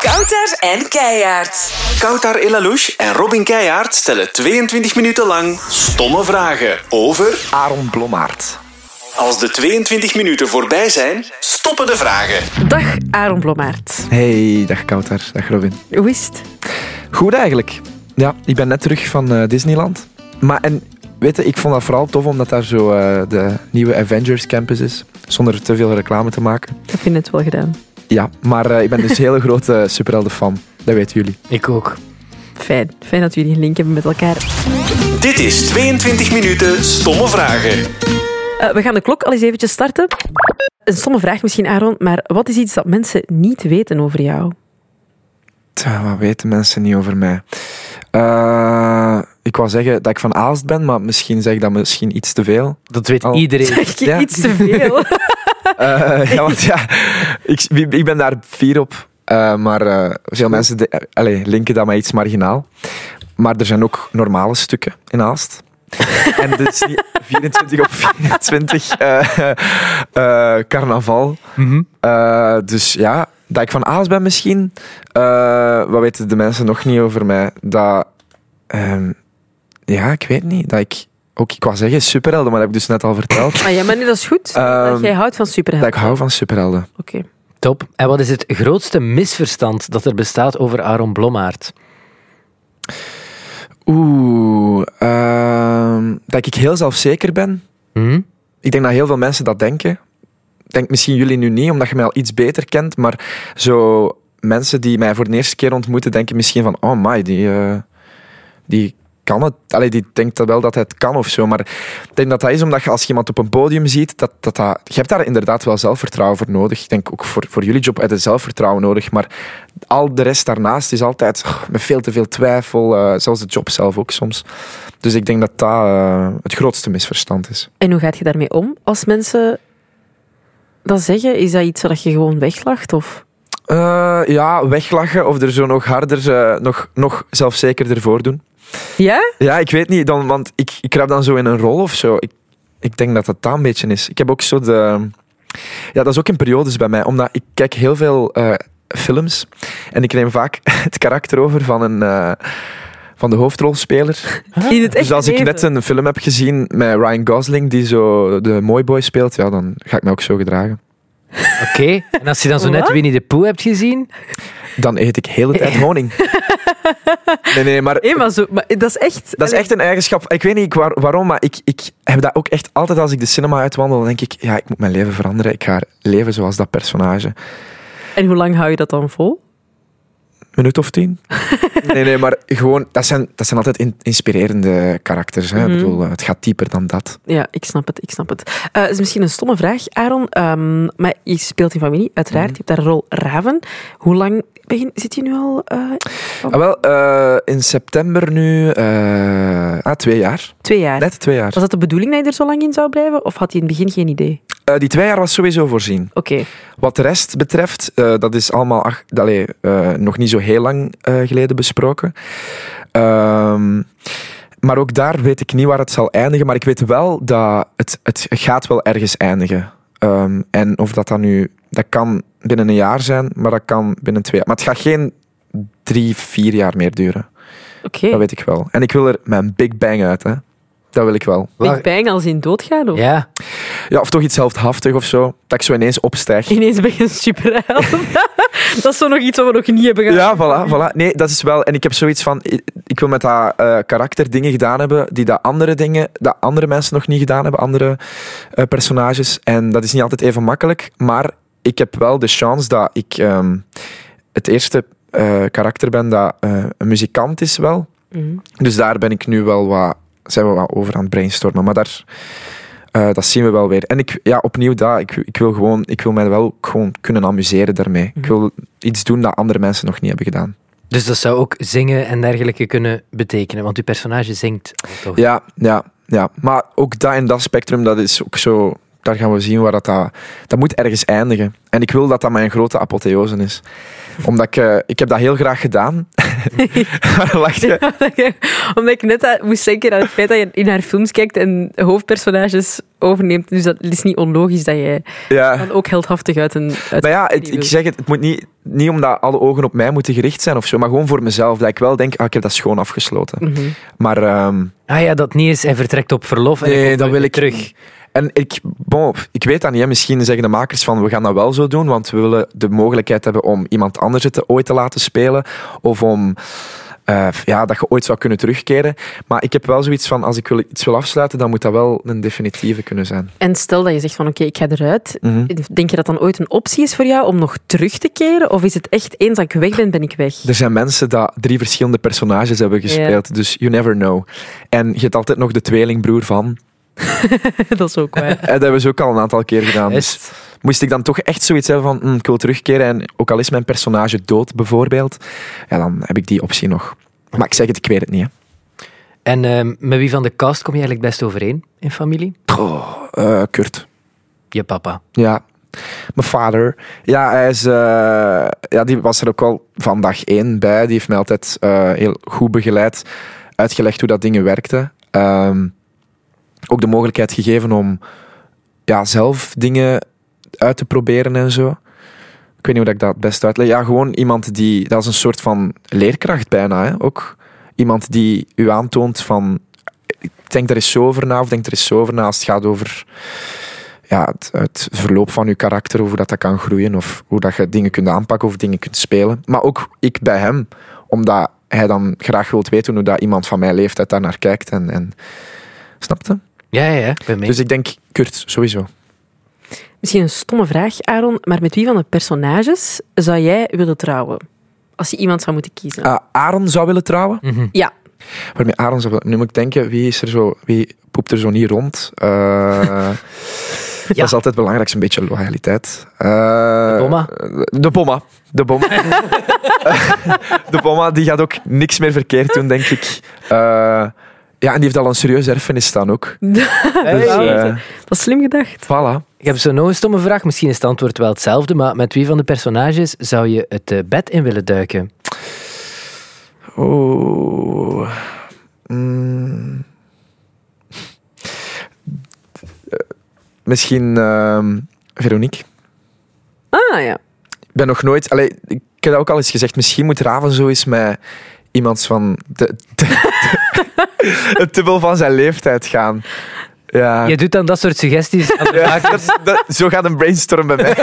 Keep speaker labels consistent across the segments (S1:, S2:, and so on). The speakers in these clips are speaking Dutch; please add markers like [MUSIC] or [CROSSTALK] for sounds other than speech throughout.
S1: Kouter en Keijaard.
S2: Koutar Elalouche en Robin Keijaard stellen 22 minuten lang stomme vragen over...
S3: Aaron Blommaert.
S2: Als de 22 minuten voorbij zijn, stoppen de vragen.
S4: Dag Aaron Blommaert.
S3: Hey, dag Kouter. Dag Robin.
S4: Hoe is het?
S3: Goed eigenlijk. Ja, ik ben net terug van eh, Disneyland. Maar en, weet je, ik vond dat vooral tof omdat daar zo eh, de nieuwe Avengers Campus is. Zonder te veel reclame te maken.
S4: Heb je net wel gedaan?
S3: Ja, maar eh, ik ben [LAUGHS] dus een hele grote superhelden-fan. Dat weten jullie.
S5: Ik ook.
S4: Fijn. Fijn dat jullie een link hebben met elkaar.
S2: Dit is 22 minuten stomme vragen.
S4: Eh, we gaan de klok al eens eventjes starten. Een stomme vraag misschien, Aaron, maar wat is iets dat mensen niet weten over jou?
S3: Tja, wat weten mensen niet over mij? Eh, ik wou zeggen dat ik van Aalst ben, maar misschien zeg ik dat misschien iets te veel.
S5: Dat weet
S3: Al- [LAUGHS]
S5: iedereen.
S4: Zeg je
S3: Ja.
S4: iets te
S3: [LAUGHS]
S4: veel?
S3: Eh, ja, want ja, ik, ik ben daar fier op. Eh, maar eh, veel mensen de- eh, allee, linken dat maar iets marginaal. Maar er zijn ook normale stukken in Aalst. en dit is niet 24 op 24 eh, eh, carnaval.
S5: Mhm.
S3: Eh, dus ja, dat ik van Aalst ben misschien. Eh, wat weten de mensen nog niet over mij? Dat, ehm, ja, ik weet niet. Dat ik, ook ik wou zeggen superhelden, maar dat heb ik dus net al verteld.
S4: Ah, ja, maar nee, dat is goed. dat
S3: Ehm,
S4: jij houdt van
S3: dat
S4: superhelden.
S3: ik hou van superhelden.
S4: Oké.
S5: Top. En wat is het grootste misverstand dat er bestaat over Aaron Blommaert?
S3: Oeh, ehm, dat ik heel zelfzeker ben.
S5: Hm?
S3: Ik denk dat heel veel mensen dat denken. Ik denk misschien jullie nu niet, omdat je mij al iets beter kent. Maar zo mensen die mij voor de eerste keer ontmoeten, denken misschien van... Oh my, die, eh, die kan het. Allee, die denkt dat wel dat hij het kan of zo. Maar ik denk dat dat is omdat je als je iemand op een podium ziet... Dat, dat, dat, je hebt daar inderdaad wel zelfvertrouwen voor nodig. Ik denk ook voor, voor jullie job heb je zelfvertrouwen nodig. Maar al de rest daarnaast is altijd oh, met veel te veel twijfel. eh, zelfs de job zelf ook soms. Dus ik denk dat dat eh, het grootste misverstand is.
S4: En hoe gaat je daarmee om als mensen dat zeggen? Is dat iets dat je gewoon weglacht? Of?
S3: Eh, ja, weglachen of er zo nog harder, eh, nog, nog zelfzekerder voor doen.
S4: Ja?
S3: Ja, ik weet niet, dan, want ik, ik kruip dan zo in een rol of zo. Ik, ik denk dat dat daar een beetje is. Ik heb ook zo de... Ja, dat is ook in periodes bij mij, omdat ik kijk heel veel eh, films en ik neem vaak [LAUGHS] het karakter over van, een, eh, van de hoofdrolspeler.
S4: In het
S3: Dus
S4: echte
S3: als ik net
S4: leven?
S3: een film heb gezien met Ryan Gosling, die zo de mooi boy speelt, ja, dan ga ik me ook zo gedragen.
S5: Oké. En als je dan zo net
S4: Wat?
S5: Winnie de Pooh hebt gezien?
S3: Dan eet ik heel
S4: [LAUGHS]
S3: de tijd honing. Nee, nee, maar
S4: Nee, maar, zo, maar dat is echt...
S3: Dat is echt een eigenschap. Ik weet niet waar- waarom, maar ik, ik heb dat ook echt altijd als ik de cinema uitwandel. Dan denk ik, ja, ik moet mijn leven veranderen. Ik ga leven zoals dat personage.
S4: En hoe lang hou je dat dan vol?
S3: Minuut of tien? Nee, nee, maar gewoon, dat zijn, dat zijn altijd in- inspirerende karakters. Hè.
S4: Mhm.
S3: Ik bedoel, eh, het gaat dieper dan dat.
S4: Ja, ik snap het, ik snap het. Eh, het is misschien een stomme vraag, Aaron, ehm, maar je speelt in familie, uiteraard. Je hebt daar een rol Raven. Hoe lang begin, zit je nu al? eh,
S3: Ah, wel, eh, in september nu, eh, ah, twee jaar.
S4: twee jaar.
S3: Net twee jaar.
S4: Was dat de bedoeling dat je er zo lang in zou blijven? Of had je in het begin geen idee?
S3: Eh, die twee jaar was sowieso voorzien.
S4: Oké.
S3: Wat de rest betreft, eh, dat is allemaal ach- allee, eh, nog niet zo heel lang eh, geleden besproken. Ehm, maar ook daar weet ik niet waar het zal eindigen. Maar ik weet wel dat het, het gaat wel ergens eindigen. Ehm en of dat dan nu... Dat kan binnen een jaar zijn, maar dat kan binnen twee jaar. Maar het gaat geen drie, vier jaar meer duren.
S4: Oké.
S3: Dat weet ik wel. En ik wil er mijn Big Bang uit, hè. Dat wil ik wel.
S4: Big Bang als in doodgaan? Of?
S5: Ja.
S3: Ja, of toch iets heldhaftig of zo. Dat ik zo ineens opstijg.
S4: Ineens ben je een superheld. [LAUGHS] dat is zo nog iets wat we nog niet hebben gedaan.
S3: Ja, voilà, voilà. Nee, dat is wel. En ik heb zoiets van. i- Ik wil met dat eh, karakter dingen gedaan hebben die dat andere dingen, dat andere mensen nog niet gedaan hebben, andere eh, personages. En dat is niet altijd even makkelijk. Maar ik heb wel de chance dat ik ehm, het eerste eh, karakter ben dat eh, een muzikant is wel.
S4: Mhm. [LAUGHS]
S3: Dus daar ben ik nu wel wat, zijn we wat over aan het brainstormen. Maar daar, eh, dat zien we wel weer. En ik, ja, opnieuw, dat, ik, ik, wil gewoon, ik wil mij wel ook gewoon kunnen amuseren daarmee. Ik wil iets doen dat andere mensen nog niet hebben gedaan.
S5: Dus dat zou ook zingen en dergelijke kunnen betekenen, want uw personage zingt al toch?
S3: Ja, ja, ja. Maar ook dat in dat spectrum, dat is ook zo... Daar gaan we zien waar dat... Dat, dat moet ergens eindigen. En ik wil dat dat mijn grote apotheose is. Omdat ik... eh, ik heb dat heel graag gedaan. [LAUGHS] Waarom lacht je?
S4: Omdat ik net aan- moest denken aan het feit dat je in haar films kijkt en hoofdpersonages overneemt. Dus dat is niet onlogisch dat jij
S3: Ja.
S4: dan ook heldhaftig uit een... Uit
S3: Maar ja, het-
S4: die
S3: ik
S4: wil.
S3: zeg het, het moet niet, niet omdat alle ogen op mij moeten gericht zijn of zo, maar gewoon voor mezelf. Dat ik wel denk, ah, ik heb dat schoon afgesloten.
S4: Mhm.
S3: Maar, ehm,
S5: Ah ja, dat niet is. Hij vertrekt op verlof. en
S3: Nee,
S5: hij komt
S3: dat
S5: nooit
S3: wil ik
S5: terug.
S3: niet. [LAUGHS] en ik, bon, ik weet dat niet. hè. Misschien zeggen de makers van, we gaan dat wel zo doen, want we willen de mogelijkheid hebben om iemand anders het ooit te laten spelen. Of om, eh, ja, dat je ooit zou kunnen terugkeren. Maar ik heb wel zoiets van, als ik wil, iets wil afsluiten, dan moet dat wel een definitieve kunnen zijn.
S4: En stel dat je zegt van oké, ik ga eruit.
S3: Mhm.
S4: Denk je dat dan ooit een optie is voor jou om nog terug te keren? Of is het echt eens dat ik weg ben, ben ik weg?
S3: Er zijn mensen die drie verschillende personages hebben gespeeld, dus you never know. En je hebt altijd nog de tweelingbroer van.
S4: [LAUGHS] dat is ook waar.
S3: Eh, Dat hebben ze ook al een aantal keer gedaan.
S5: Is
S3: Dus
S5: het?
S3: moest ik dan toch echt zoiets hebben van, hm, ik wil terugkeren en ook al is mijn personage dood bijvoorbeeld, ja, dan heb ik die optie nog. Maar ik zeg het, ik weet het niet. Hè.
S5: En ehm, met wie van de cast kom je eigenlijk best overeen in familie?
S3: Eh, Kurt.
S5: Je papa.
S3: Ja. Mijn vader. Ja, hij is, eh, ja, die was er ook al van dag één bij. Die heeft mij altijd eh, heel goed begeleid. Uitgelegd hoe dat dingen werkten. Ehm, ook de mogelijkheid gegeven om ja, zelf dingen uit te proberen en zo. Ik weet niet hoe dat ik dat het best uitleg. Ja, gewoon iemand die... Dat is een soort van leerkracht bijna. Hè? Ook iemand die u aantoont van... Ik denk er eens zo over na, of denk er eens zo over na als het gaat over ja, het, het verloop van je karakter, hoe dat, dat kan groeien, of hoe dat je dingen kunt aanpakken of dingen kunt spelen. Maar ook ik bij hem, omdat hij dan graag wilt weten hoe dat iemand van mijn leeftijd daar naar kijkt. En, en... Snapte?
S5: Ja, ja, ja. ik Ben mee.
S3: Dus ik denk, Kurt, sowieso.
S4: Misschien een stomme vraag, Aaron, maar met wie van de personages zou jij willen trouwen? Als je iemand zou moeten kiezen.
S3: Eh, Aaron zou willen trouwen.
S5: Mhm.
S4: Ja,
S3: Waarmee Aaron zou willen... Nu moet ik denken, wie, is er zo, wie poept er zo niet rond? Eh, Dat is altijd belangrijk, zo'n beetje loyaliteit. Eh,
S5: De bomma?
S3: De bomma. De bomma. [LAUGHS] de bomma, die gaat ook niks meer verkeerd doen, denk ik. Eh, ja, en die heeft al een serieuze erfenis staan ook. Dus,
S5: Hey.
S3: eh,
S4: dat is slim gedacht.
S3: voilà.
S5: Ik heb zo nog een stomme vraag. Misschien is het antwoord wel hetzelfde, maar met wie van de personages zou je het eh, bed in willen duiken?
S3: Oh. Mm. Eh, Misschien ehm, Veronique.
S4: Ah ja.
S3: Ik ben nog nooit... Allee, ik heb dat ook al eens gezegd. Misschien moet Raven zo eens met iemand van... De, [LAUGHS] de- het dubbel van zijn leeftijd gaan. Ja.
S5: Je doet dan dat soort
S3: [LAUGHS]
S5: suggesties [LAUGHS] aan de
S3: Ja,
S5: makers.
S3: dat- dat- zo gaat een brainstorm bij mij.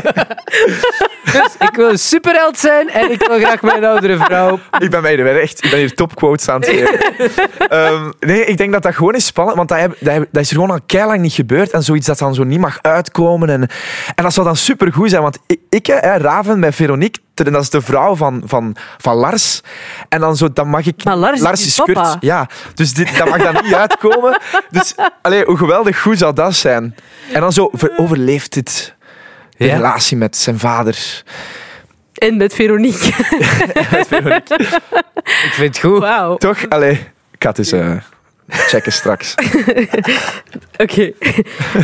S5: Dus ik wil een superheld zijn en ik wil graag mijn oudere vrouw.
S3: ik ben mij weer echt. Ik ben hier topquotes aan het geven.
S4: [LAUGHS]
S3: Ehm, nee, ik denk dat dat gewoon is spannend, want dat, heb- dat, heb- dat is er gewoon al keilang niet gebeurd. En zoiets dat dan zo niet mag uitkomen. En, en dat zou dan supergoed zijn, want ik, ik hè, Raven met Veronique, ter- dat is de vrouw van, van, van Lars. En dan zo, dan mag ik...
S4: Maar Lars is je
S3: kut.
S4: papa.
S3: Ja, dus dit, dat mag dan
S4: [LAUGHS]
S3: niet uitkomen. Dus, allee, hoe geweldig goed zou dat zijn? En dan zo,
S4: Eh.
S3: ver- overleeft dit de
S5: Ja.
S3: relatie met zijn vader?
S4: En met [LAUGHS] Veronique.
S5: Ik vind het goed.
S4: Wauw.
S3: Toch? Allee, ik ga het eens eh, checken straks.
S4: Oké. [LAUGHS]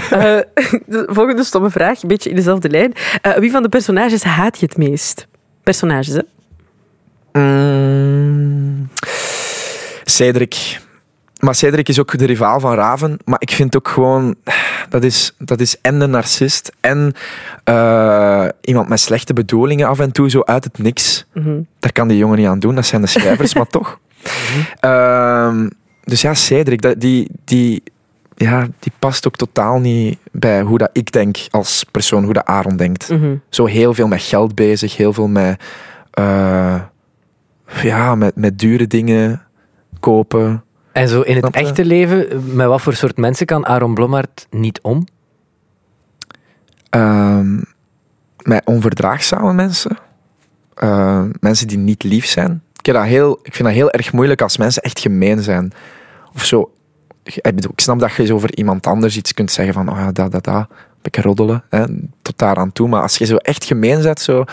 S4: Eh, [LAUGHS] de volgende stomme vraag, een beetje in dezelfde lijn. Eh, wie van de personages haat je het meest? Personages, hè?
S3: Mm, Cedric. Maar Cedric is ook de rivaal van Raven. Maar ik vind ook gewoon... Dat is, dat is en een narcist en eh, iemand met slechte bedoelingen af en toe, zo uit het niks.
S4: Mhm.
S3: Daar kan die jongen niet aan doen. Dat zijn de schrijvers, maar toch. Ehm, dus ja, Cedric, dat, die, die, ja, die past ook totaal niet bij hoe dat ik denk als persoon, hoe dat Aaron denkt
S4: Mhm.
S3: zo heel veel met geld bezig, heel veel met, eh, ja, met, met dure dingen kopen.
S5: En zo in het
S3: Snap je?
S5: echte leven, met wat voor soort mensen kan Aaron Blommaert niet om?
S3: Ehm, met onverdraagzame mensen. Eh, mensen die niet lief zijn. Ik, heb dat heel, ik vind dat heel erg moeilijk als mensen echt gemeen zijn. Of zo. Ik, bedoel, ik snap dat je zo over iemand anders iets kunt zeggen van, oh ja, dat, dat, dat. Een beetje roddelen. Hè, tot daar aan toe. Maar als je zo echt gemeen bent, zo.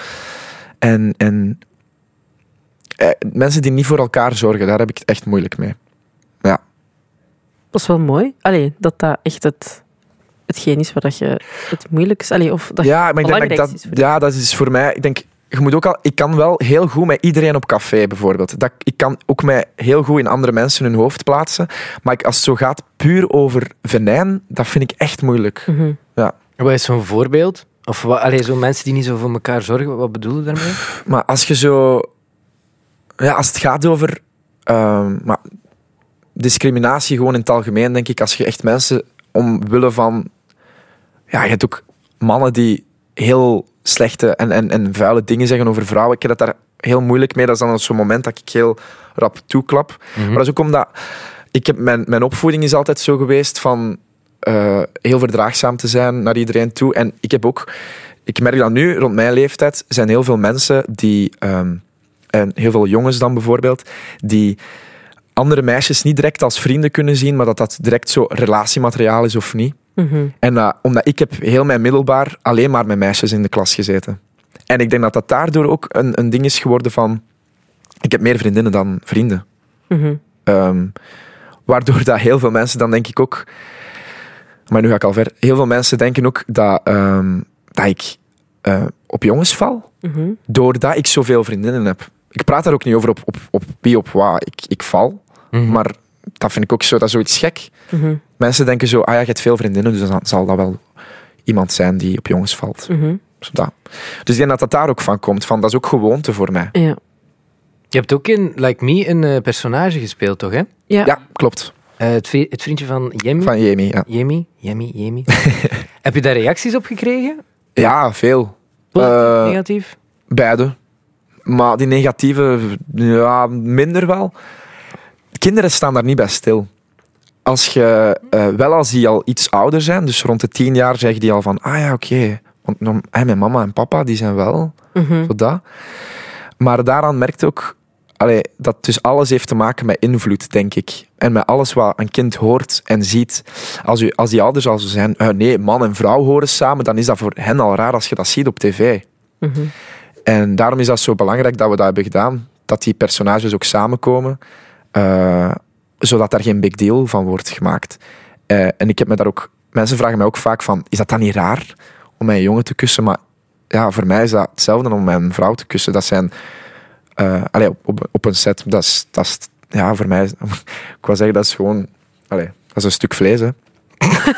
S3: En, en eh, mensen die niet voor elkaar zorgen, daar heb ik het echt moeilijk mee.
S4: Dat is wel mooi. Allee, dat dat echt het, hetgeen is waar dat je het moeilijkst... Allee, of dat je-
S3: Ja, maar ik denk dat ik
S4: belangrijk
S3: dat,
S4: is voor
S3: ja, dat is voor mij. Ik denk, je moet ook al, ik kan wel heel goed met iedereen op café bijvoorbeeld. Dat, ik kan ook mij heel goed in andere mensen hun hoofd plaatsen. Maar ik, als het zo gaat puur over venijn, dat vind ik echt moeilijk.
S4: Mhm,
S3: Ja.
S5: Wat is zo'n voorbeeld? Of wat, allee, zo mensen die niet zo voor elkaar zorgen, wat bedoel je daarmee?
S3: Maar als je zo. Ja, als het gaat over. ehm, maar discriminatie gewoon in het algemeen, denk ik. Als je echt mensen omwille van. Ja, je hebt ook mannen die heel slechte en, en, en vuile dingen zeggen over vrouwen. Ik heb dat daar heel moeilijk mee. Dat is dan zo'n moment dat ik heel rap toeklap. Maar dat is ook omdat. Ik heb mijn, mijn opvoeding is altijd zo geweest van eh, heel verdraagzaam te zijn naar iedereen toe. En ik heb ook, ik merk dat nu rond mijn leeftijd, zijn heel veel mensen die, ehm, en heel veel jongens dan bijvoorbeeld, die andere meisjes niet direct als vrienden kunnen zien, maar dat dat direct zo relatiemateriaal is of niet.
S4: mhm,
S3: En eh, omdat ik heb heel mijn middelbaar alleen maar met meisjes in de klas gezeten. En ik denk dat dat daardoor ook een, een ding is geworden van... Ik heb meer vriendinnen dan vrienden.
S4: mhm,
S3: Ehm, waardoor dat heel veel mensen dan denk ik ook... Maar nu ga ik al ver. Heel veel mensen denken ook dat, ehm, dat ik eh, op jongens val.
S4: mhm,
S3: Doordat ik zoveel vriendinnen heb. Ik praat daar ook niet over op, op, op wie, op waar. Ik, ik val. Maar dat vind ik ook zo, dat is zoiets gek.
S4: mhm,
S3: Mensen denken zo, ah ja, je hebt veel vriendinnen, dus dan zal dat wel iemand zijn die op jongens valt.
S4: mhm.
S3: Zo dat. Dus ik denk dat dat daar ook van komt. Van, dat is ook gewoonte voor mij.
S4: Ja.
S5: Je hebt ook in Like Me een eh, personage gespeeld, toch? Hè?
S4: Ja.
S3: Ja, klopt.
S5: Eh, het, vri- het vriendje van Jemmy.
S3: Van Jamie, ja.
S5: Jemmy, Jemmy,
S3: [LAUGHS]
S5: Jemmy. Heb je daar reacties op gekregen?
S3: Ja, veel.
S5: Positief,
S3: Eh,
S5: negatief?
S3: Beide. Maar die negatieve, ja, minder wel. Kinderen staan daar niet bij stil. Als je, eh, wel als die al iets ouder zijn, dus rond de tien jaar, zeggen die al van, ah ja, oké. Want norm- hè, mijn mama en papa, die zijn wel,
S4: Mhm,
S3: zo dat. Maar daaraan merkt ook, allee, dat dus alles heeft te maken met invloed, denk ik. En met alles wat een kind hoort en ziet. Als, u, als die ouders al zo zijn, eh, nee, man en vrouw horen samen, dan is dat voor hen al raar als je dat ziet op tv.
S4: mhm.
S3: En daarom is dat zo belangrijk dat we dat hebben gedaan. Dat die personages ook samenkomen. eh, zodat daar geen big deal van wordt gemaakt. Eh, en ik heb me daar ook... Mensen vragen mij ook vaak van... Is dat dan niet raar om mijn jongen te kussen? Maar ja, voor mij is dat hetzelfde om mijn vrouw te kussen. Dat zijn... eh, allee, op, op, op een set, dat is... Dat is ja, voor mij... is- [LAUGHS] Ik wou zeggen, dat is gewoon... Allee, dat is een stuk vlees, hè. [LAUGHS]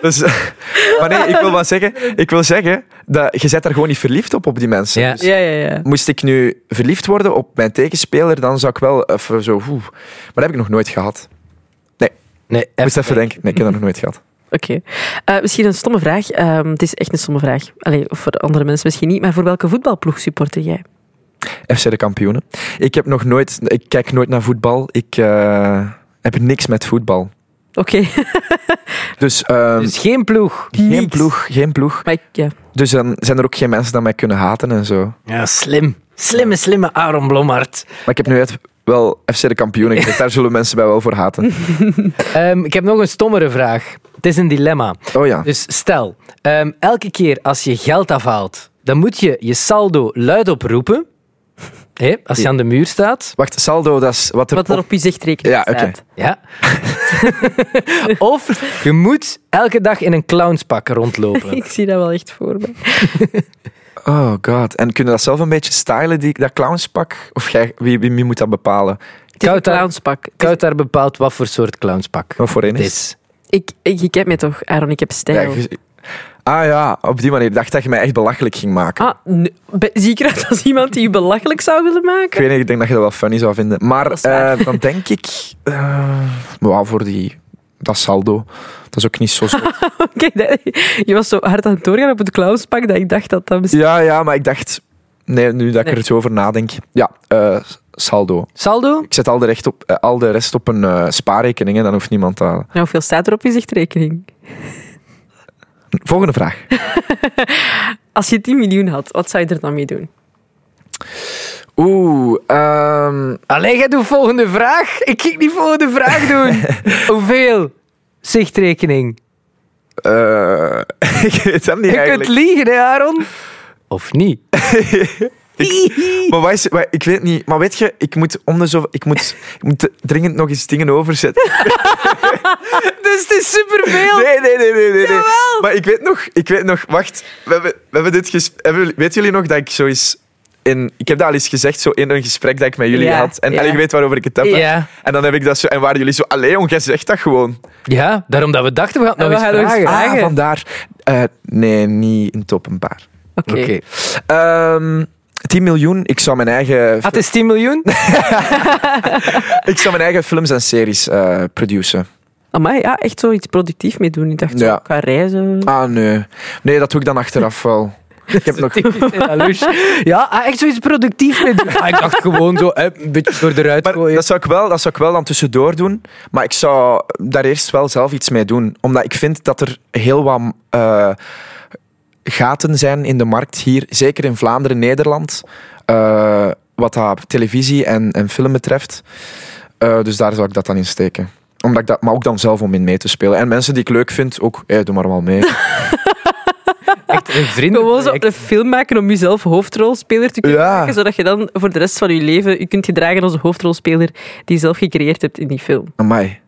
S3: dus, [LAUGHS] maar nee, ik wil wat zeggen. Ik wil zeggen dat je zet daar gewoon niet verliefd op, op die mensen.
S5: Ja.
S3: Dus-
S4: Ja, ja, ja.
S3: Moest ik nu verliefd worden op mijn tegenspeler, dan zou ik wel even zo... oeh. Maar dat heb ik nog nooit gehad.
S5: Nee, even,
S3: Moest even denken. Nee, ik heb dat nog nooit gehad.
S4: Oké. Eh, misschien een stomme vraag. Ehm, het is echt een stomme vraag. Allee, of voor andere mensen misschien niet. Maar voor welke voetbalploeg supporter jij?
S3: FC de kampioenen. Ik heb nog nooit... Ik kijk nooit naar voetbal. Ik eh, heb niks met voetbal.
S4: Oké.
S3: Dus, ehm,
S5: Dus geen ploeg.
S3: geen
S5: Niks.
S3: ploeg, geen ploeg.
S4: [LAUGHS] maar ik, ja.
S3: Dus dan zijn er ook geen mensen die mij kunnen haten en zo.
S5: Ja, slim. Slimme, slimme Aaron Blommaert.
S3: Maar ik heb nu echt wel FC de kampioenen. gekregen. Daar zullen mensen mij wel voor haten.
S5: Ehm, ik heb nog een stommere vraag. Het is een dilemma.
S3: Oh ja.
S5: Dus stel, ehm, elke keer als je geld afhaalt, dan moet je je saldo luidop roepen. Hé, als je aan de muur staat.
S3: Wacht, saldo, dat is wat er...
S4: Wat er op je zichtrekening
S3: Ja, oké.
S4: staat.
S5: [LAUGHS] Ja. of je moet elke dag in een clownspak
S4: [LAUGHS]
S5: rondlopen.
S4: Ik zie dat wel echt voor me.
S3: Oh god. En kunnen dat zelf een beetje stylen, die, dat clownspak? Of jij, wie, wie, wie moet dat bepalen?
S4: Het is een
S5: Koud daar-
S4: clownspak.
S5: Koud daar bepaalt wat voor soort clownspak
S3: Wat voor een
S5: het
S3: is?
S5: is.
S4: Ik, ik, ik heb mij toch, Aaron, ik heb
S3: Ja,
S4: stijl.
S3: je- ah ja, op die manier. Ik dacht dat je mij echt belachelijk ging maken.
S4: Ah, nee. Ben- zie ik eruit als iemand die je belachelijk zou willen
S3: Ik
S4: maken?
S3: weet niet, ik denk dat je dat wel funny zou vinden. Maar
S4: Dat is waar.
S3: eh, dan denk ik... eh wauw, voor die... Dat saldo. Dat is ook niet zo...
S4: [LAUGHS]
S3: zot.
S4: Kijk, dat- je was zo hard aan het doorgaan op het clownspak dat ik dacht dat dat misschien...
S3: ja, ja, maar ik dacht... Nee, nu dat ik
S4: Nee.
S3: er zo over nadenk. Ja, eh, saldo.
S5: Saldo?
S3: Ik zet al de, recht op, eh, al de rest op een eh, spaarrekening en dan hoeft niemand dat...
S4: Nou, hoeveel staat er op je zichtrekening?
S3: Volgende vraag.
S4: [LAUGHS] Als je 10 miljoen had, wat zou je er dan mee doen?
S3: Oeh, ehm,
S5: Allee, jij doet volgende vraag. Ik ging die volgende vraag doen. [LAUGHS] Hoeveel? Zichtrekening.
S3: eh, [LAUGHS] ik weet dat niet
S5: Je
S3: eigenlijk.
S5: [LAUGHS] kunt liegen, hè, Aaron? Of niet?
S3: Maar wat is, wat- ik weet niet. Maar weet je, ik moet om de zoveel... Ik moet, ik moet dringend nog eens dingen overzetten.
S4: Dus het is superveel.
S3: Nee, nee, nee, nee. nee, nee. Maar ik weet nog... Ik weet nog... Wacht. We hebben, we hebben dit ges- hebben jullie- Weten jullie nog dat ik zo eens... In, ik heb dat al eens gezegd, zo in een gesprek dat ik met jullie
S4: Ja,
S3: had. En,
S4: ja.
S3: en ik weet waarover ik het heb. hè.
S5: [LAUGHS] Ja.
S3: En dan heb ik dat zo... En waren jullie zo... Allee, jong, jij zegt dat gewoon.
S5: Ja, daarom dat we dachten, we gaan het nog
S4: We gaan
S5: eens
S4: nog eens
S5: vragen.
S4: vragen.
S3: Ah, vandaar... Eh, nee, niet in top een paar.
S4: Oké.
S5: Oké.
S3: Ehm 10 miljoen. Ik zou mijn eigen,
S5: Ah, het is 10 [LAUGHS] miljoen?
S3: ik zou mijn eigen films en series eh produceren.
S4: Amai, ja, echt zoiets productief mee doen. Ik dacht,
S3: Ja.
S4: zo, ik ga reizen.
S3: Ah, nee. Nee, dat doe ik dan achteraf wel. Ik [LAUGHS] heb nog...
S5: Ja, ah, echt zoiets productief mee doen. Ah, ik dacht gewoon zo, eh, een beetje door eruit
S3: Maar
S5: gooien.
S3: dat zou, ik wel, dat zou ik wel dan tussendoor doen. Maar ik zou daar eerst wel zelf iets mee doen. Omdat ik vind dat er heel wat eh, gaten zijn in de markt hier. Zeker in Vlaanderen, Nederland. eh, wat dat televisie en, en film betreft. Eh, dus daar zou ik dat dan in steken. Omdat ik dat, maar ook dan zelf om in mee te spelen. En mensen die ik leuk vind, ook, hey, doe maar wel [LAUGHS] mee.
S5: Echt een vriend.
S4: Gewoon zo een film maken om jezelf hoofdrolspeler te kunnen
S3: Ja.
S4: maken, zodat je dan voor de rest van je leven je kunt gedragen als een hoofdrolspeler die je zelf gecreëerd hebt in die film.
S3: Amai.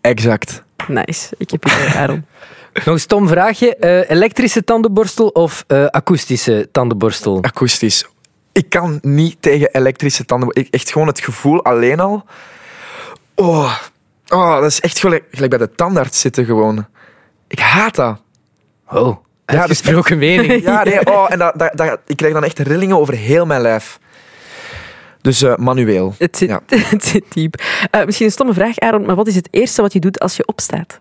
S3: Exact.
S4: Nice. Ik heb idee,
S3: [LAUGHS]
S4: Aaron.
S5: Nog een stom vraagje. Eh, elektrische tandenborstel of eh, akoestische tandenborstel?
S3: Akoestisch. Ik kan niet tegen elektrische tanden. Ik, echt gewoon het gevoel alleen al. Oh, oh dat is echt gelijk, gelijk bij de tandarts zitten gewoon. Ik haat dat.
S5: Oh,
S3: is-
S5: uitgesproken [LAUGHS] mening.
S3: Ja, nee. Oh, en dat, dat, dat- ik krijg dan echt rillingen over heel mijn lijf. Dus eh, manueel.
S4: Het zit,
S3: Ja.
S4: [LAUGHS] het zit diep. Eh, misschien een stomme vraag, Aaron, maar wat is het eerste wat je doet als je opstaat?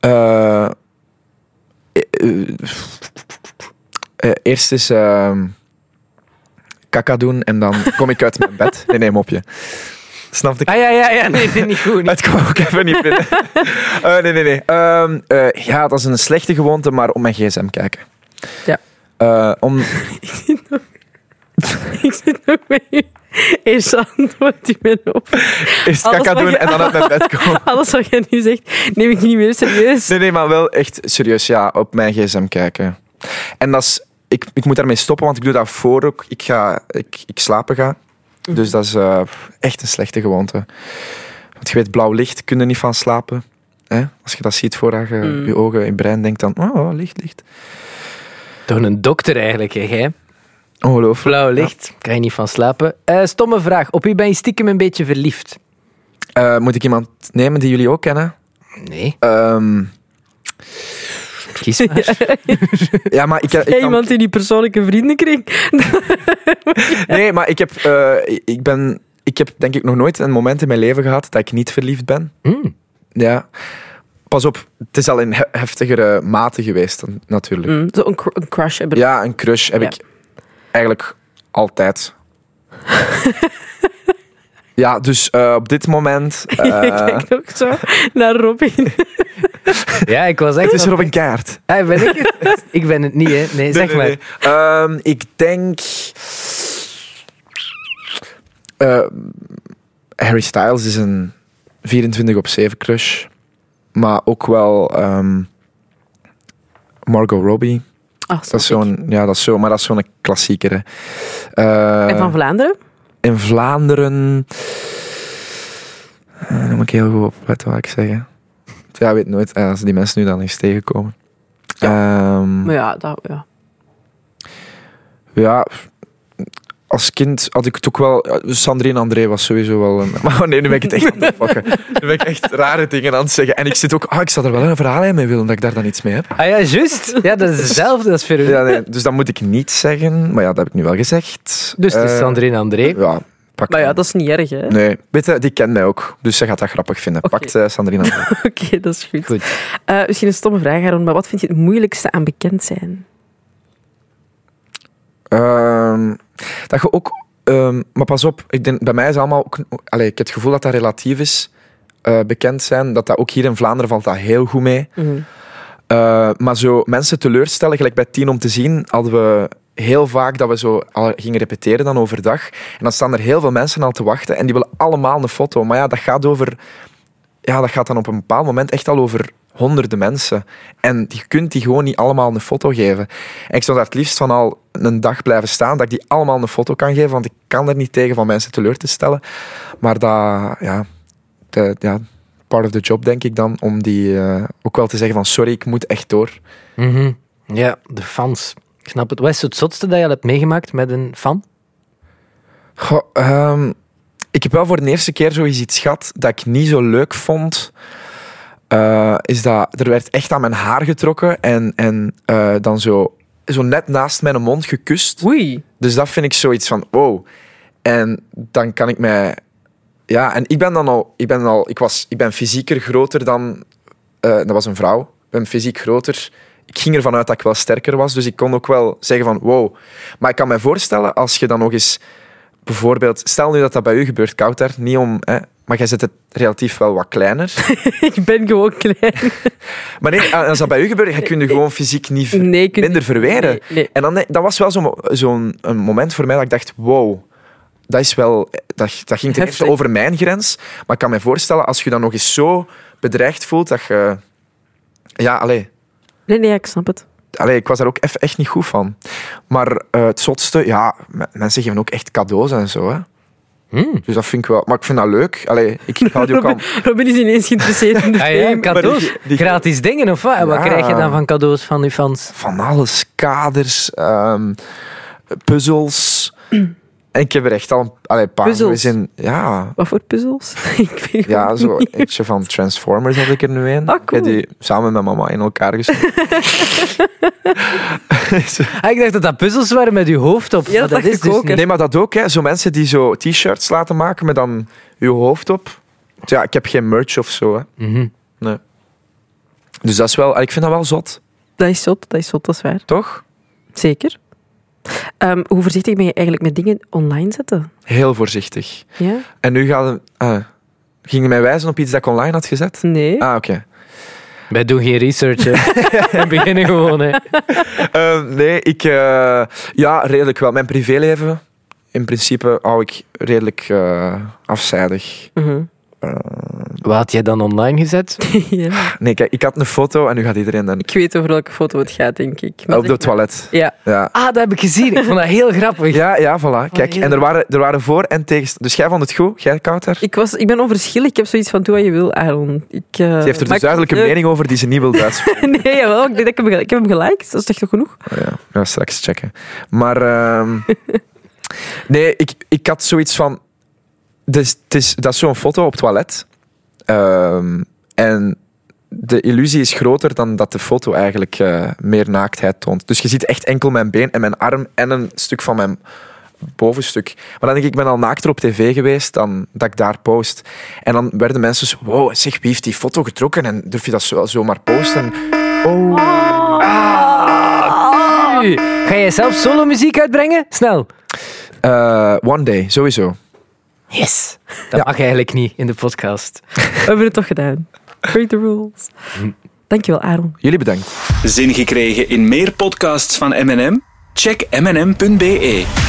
S3: Eh, eh, eh, eerst is ehm kaka doen en dan kom ik uit mijn bed. Nee, nee, mopje. Snap ik?
S5: Ah ja, ja, [LAUGHS] ja. Nee, nee, niet goed. niet.
S3: Het [LAUGHS] kwam ook even
S4: [LAUGHS]
S3: niet binnen. Eh, nee, nee, nee. Ehm, eh, ja, dat is een slechte gewoonte, maar op mijn gsm kijken.
S4: Ja.
S3: Eh,
S4: [LAUGHS]
S3: om,
S4: Ik zit nog met je eerste antwoord in mijn hoofd.
S3: eerst
S4: Alles
S3: kaka
S4: wat
S3: doen
S4: je-
S3: en dan uit mijn
S4: [LAUGHS]
S3: bed komen.
S4: Alles wat jij nu zegt, neem ik niet meer serieus.
S3: Nee, nee, maar wel echt serieus, ja, op mijn gsm kijken. En dat is, ik, ik moet daarmee stoppen, want ik doe dat voor ook. Ik, ga, ik, ik slapen ga. Dus dat is eh, echt een slechte gewoonte. Want je weet, blauw licht kun je niet van slapen. Hè? Als je dat ziet voordat je
S4: Mm.
S3: je ogen, je brein denkt dan, oh, oh, licht, licht.
S5: Toch een dokter eigenlijk, hè? jij?
S3: Ongelooflijk.
S5: Blauw licht, kan je niet van slapen. Eh, stomme vraag. Op wie ben je stiekem een beetje verliefd?
S3: Eh, moet ik iemand nemen die jullie ook kennen?
S5: Nee,
S3: Ehm,
S5: kies maar.
S3: ja,
S4: [LAUGHS]
S3: maar ik, ik
S4: Ja,
S3: kan-
S4: iemand in die persoonlijke vriendenkring.
S3: nee, maar ik heb, eh, ik ben, ik heb denk ik nog nooit een moment in mijn leven gehad dat ik niet verliefd ben.
S5: Hmm.
S3: Ja. Pas op, het is al in he- heftigere mate geweest dan- natuurlijk.
S4: Mm, zo een, cr- een crush hebben.
S3: Ja, een crush heb
S4: Mm. Ja.
S3: ik eigenlijk
S4: [LAUGHS]
S3: altijd. ja, dus eh, op dit moment. eh,
S4: [LAUGHS] Ik kijk ook zo naar Robin.
S5: Ja, ik was echt...
S3: het is Robin Kaart.
S5: Ah, ben ik het? Ik ben het niet, hè. Nee, zeg maar.
S3: Ehm, ik denk. eh, Harry Styles is een 24 op 7 crush. Maar ook wel ehm, Margot Robbie.
S4: Ah,
S3: Dat is zo'n, ja, dat is zo, maar dat is zo'n klassieker. hè. Eh,
S4: En van Vlaanderen?
S3: in Vlaanderen. Eh, daar moet ik heel goed op letten wat ik zeg. hè. Ja, ik weet nooit eh, als die mensen nu dan eens tegenkomen. Ehm,
S4: Maar ja, dat, ja.
S3: Ja, als kind had ik het ook wel. eh, dus Sandrine André was sowieso wel een. [LAUGHS] Maar oh nee, nu ben ik het echt aan het pakken. Nu ben ik echt rare dingen aan het zeggen. En ik zit ook. Ah, ik zou er wel een verhaal in mee willen dat ik daar dan iets mee heb.
S5: Ah ja, juist. Ja, dat is hetzelfde als Veronica.
S3: Ja, nee, dus dat moet ik niet zeggen. Maar ja, dat heb ik nu wel gezegd.
S5: Dus het is
S3: Eh,
S5: Sandrine André.
S3: Ja, pak
S4: Maar ja,
S3: dan.
S4: dat is niet erg, hè?
S3: Nee, weet je, die kent mij ook. Dus ze gaat dat grappig vinden.
S4: Oké.
S3: Pakt eh, Sandrine André.
S4: [LAUGHS] Oké, dat is goed.
S5: Goed.
S4: Eh, misschien een stomme vraag, Aaron, maar wat vind je het moeilijkste aan bekend zijn?
S3: Ehm, dat je ook... ehm, maar pas op, ik denk, bij mij is allemaal... Ook, allee, ik heb het gevoel dat dat relatief is. eh, bekend zijn, dat dat ook hier in Vlaanderen valt dat heel goed mee. Eh, maar zo mensen teleurstellen, gelijk bij Tien om te zien, hadden we heel vaak dat we zo al gingen repeteren dan overdag. En dan staan er heel veel mensen al te wachten en die willen allemaal een foto. Maar ja, dat gaat over... Ja, dat gaat dan op een bepaald moment echt al over honderden mensen. En je kunt die gewoon niet allemaal een foto geven. En ik zou daar het liefst van al een dag blijven staan, dat ik die allemaal een foto kan geven, want ik kan er niet tegen van mensen teleur te stellen. Maar dat, ja, de- ja part of the job denk ik dan, om die eh, ook wel te zeggen van sorry, ik moet echt door.
S5: Mhm. Ja, de fans. Ik snap het. Wat is het zotste dat je al hebt meegemaakt met een fan?
S3: Goh, ehm, ik heb wel voor de eerste keer zoiets iets gehad dat ik niet zo leuk vond. Eh, is dat er werd echt aan mijn haar getrokken en, en eh, dan zo, zo net naast mijn mond gekust.
S4: Oei.
S3: Dus dat vind ik zoiets van wow. En dan kan ik mij. Ja, en ik ben dan al. Ik ben, al, ik was, ik ben fysieker groter dan. eh, dat was een vrouw. Ik ben fysiek groter. Ik ging ervan uit dat ik wel sterker was. Dus ik kon ook wel zeggen van wow. Maar ik kan me voorstellen als je dan nog eens. Bijvoorbeeld, stel nu dat dat bij u gebeurt, Kouter. Niet om. Hè, maar jij zit het relatief wel wat kleiner.
S4: [LAUGHS] Ik ben gewoon klein.
S3: Maar nee, als dat bij u gebeurt, dan kun je gewoon fysiek niet ver-
S4: Nee, ik-
S3: minder verweren.
S4: Nee, nee.
S3: En dan, dat was wel zo'n zo'n een moment voor mij dat ik dacht, wow, dat, is wel, dat, dat ging ten eerste
S4: Heftig.
S3: over mijn grens. Maar ik kan me voorstellen, als je dan nog eens zo bedreigd voelt, dat je... Ja, allee,
S4: Nee, nee, ik snap het.
S3: allee ik was daar ook eff- echt niet goed van. Maar eh, het zotste, ja, m- mensen geven ook echt cadeaus en zo, hè.
S5: Hmm.
S3: Dus dat vind ik wel... Maar ik vind dat leuk. Allee, ik hou
S4: [LAUGHS]
S3: die ook al...
S4: Robin is ineens geïnteresseerd in de
S5: Ah ja,
S4: [LAUGHS] fame.
S5: cadeaus.
S3: die- die-
S5: Gratis dingen of wat? En wat
S3: Ja.
S5: krijg je dan van cadeaus van je fans?
S3: van alles. Kaders, ehm, puzzels. En ik heb er echt al een allee, een paar
S4: Puzzels?
S3: eens in. Ja,
S4: Wat voor puzzels? [LAUGHS] ik weet
S3: ja
S4: het
S3: zo
S4: niet.
S3: eentje van Transformers had ik er nu een.
S4: Ah,
S3: Ik heb
S4: cool.
S3: die samen met mama in elkaar gestopt.
S5: Ah, ik dacht dat dat puzzels waren met je hoofd op.
S4: Ja, dat
S5: maar
S4: dacht
S5: is
S4: ik
S5: dus
S4: [LAUGHS] ook,
S5: niet.
S3: nee, maar dat ook. Hè. Zo mensen die zo t-shirts laten maken met dan uw hoofd op. Ja, ik heb geen merch of zo. Hè.
S5: Mhm.
S3: Nee. Dus dat is wel... Ik vind dat wel zot,
S4: Dat is zot, dat is zot, dat is waar.
S3: toch?
S4: Zeker. Ehm, hoe voorzichtig ben je eigenlijk met dingen online zetten?
S3: Heel voorzichtig.
S4: Ja?
S3: En nu gaat... ah, ging je mij wijzen op iets dat ik online had gezet?
S4: Nee.
S3: Ah, oké.
S5: Wij doen geen [LAUGHS] research. hè. We beginnen gewoon. Hè.
S3: Eh, nee, ik... eh, ja, redelijk wel. Mijn privéleven, in principe, hou ik redelijk eh, afzijdig.
S4: [LAUGHS] Mhm.
S5: Wat had jij dan online gezet?
S4: ja.
S3: Nee, kijk, ik had een foto en nu gaat iedereen dan...
S4: Ik weet over welke foto het gaat, denk ik. Maar
S3: op
S4: zeg
S3: het
S4: maar.
S3: toilet.
S4: Ja.
S3: Ja.
S5: Ah, dat heb ik gezien. Ik vond dat heel grappig.
S3: Ja, ja, voilà. Kijk,
S5: heel
S3: en er waren, er waren voor- en tegenst. Dus jij vond het goed? Jij, Kouter?
S4: Ik, was, ik ben onverschillig. Ik heb zoiets van, doe wat je wil, Aaron. Ik, eh,
S3: Ze heeft er
S4: maar
S3: dus
S4: ik-
S3: duidelijk een
S4: eh,
S3: mening over die ze niet wil uitspreken.
S4: [LAUGHS] Nee, jawel, ik, denk dat ik, hem, gel- ik heb hem geliked. Dat is toch genoeg?
S3: Ja, ja, straks checken. Maar ehm, nee, ik, ik had zoiets van. Dus, het is, dat is zo'n foto op het toilet. Ehm, en de illusie is groter dan dat de foto eigenlijk eh, meer naaktheid toont. Dus je ziet echt enkel mijn been en mijn arm en een stuk van mijn bovenstuk. Maar dan denk ik, ik ben al naakter op tv geweest dan dat ik daar post. En dan werden mensen zo, wow, zeg, wie heeft die foto getrokken? En durf je dat zo, zomaar posten? Oh.
S5: U, Ga jij zelf solo muziek uitbrengen? Snel.
S3: Eh, one day, sowieso.
S5: Yes. Dat mag eigenlijk niet in de podcast.
S4: We hebben het toch gedaan. Break the rules.
S3: Hm.
S4: Dankjewel, Aaron.
S3: Jullie bedankt.
S2: Zin gekregen in meer podcasts van M&M? Check mm.be.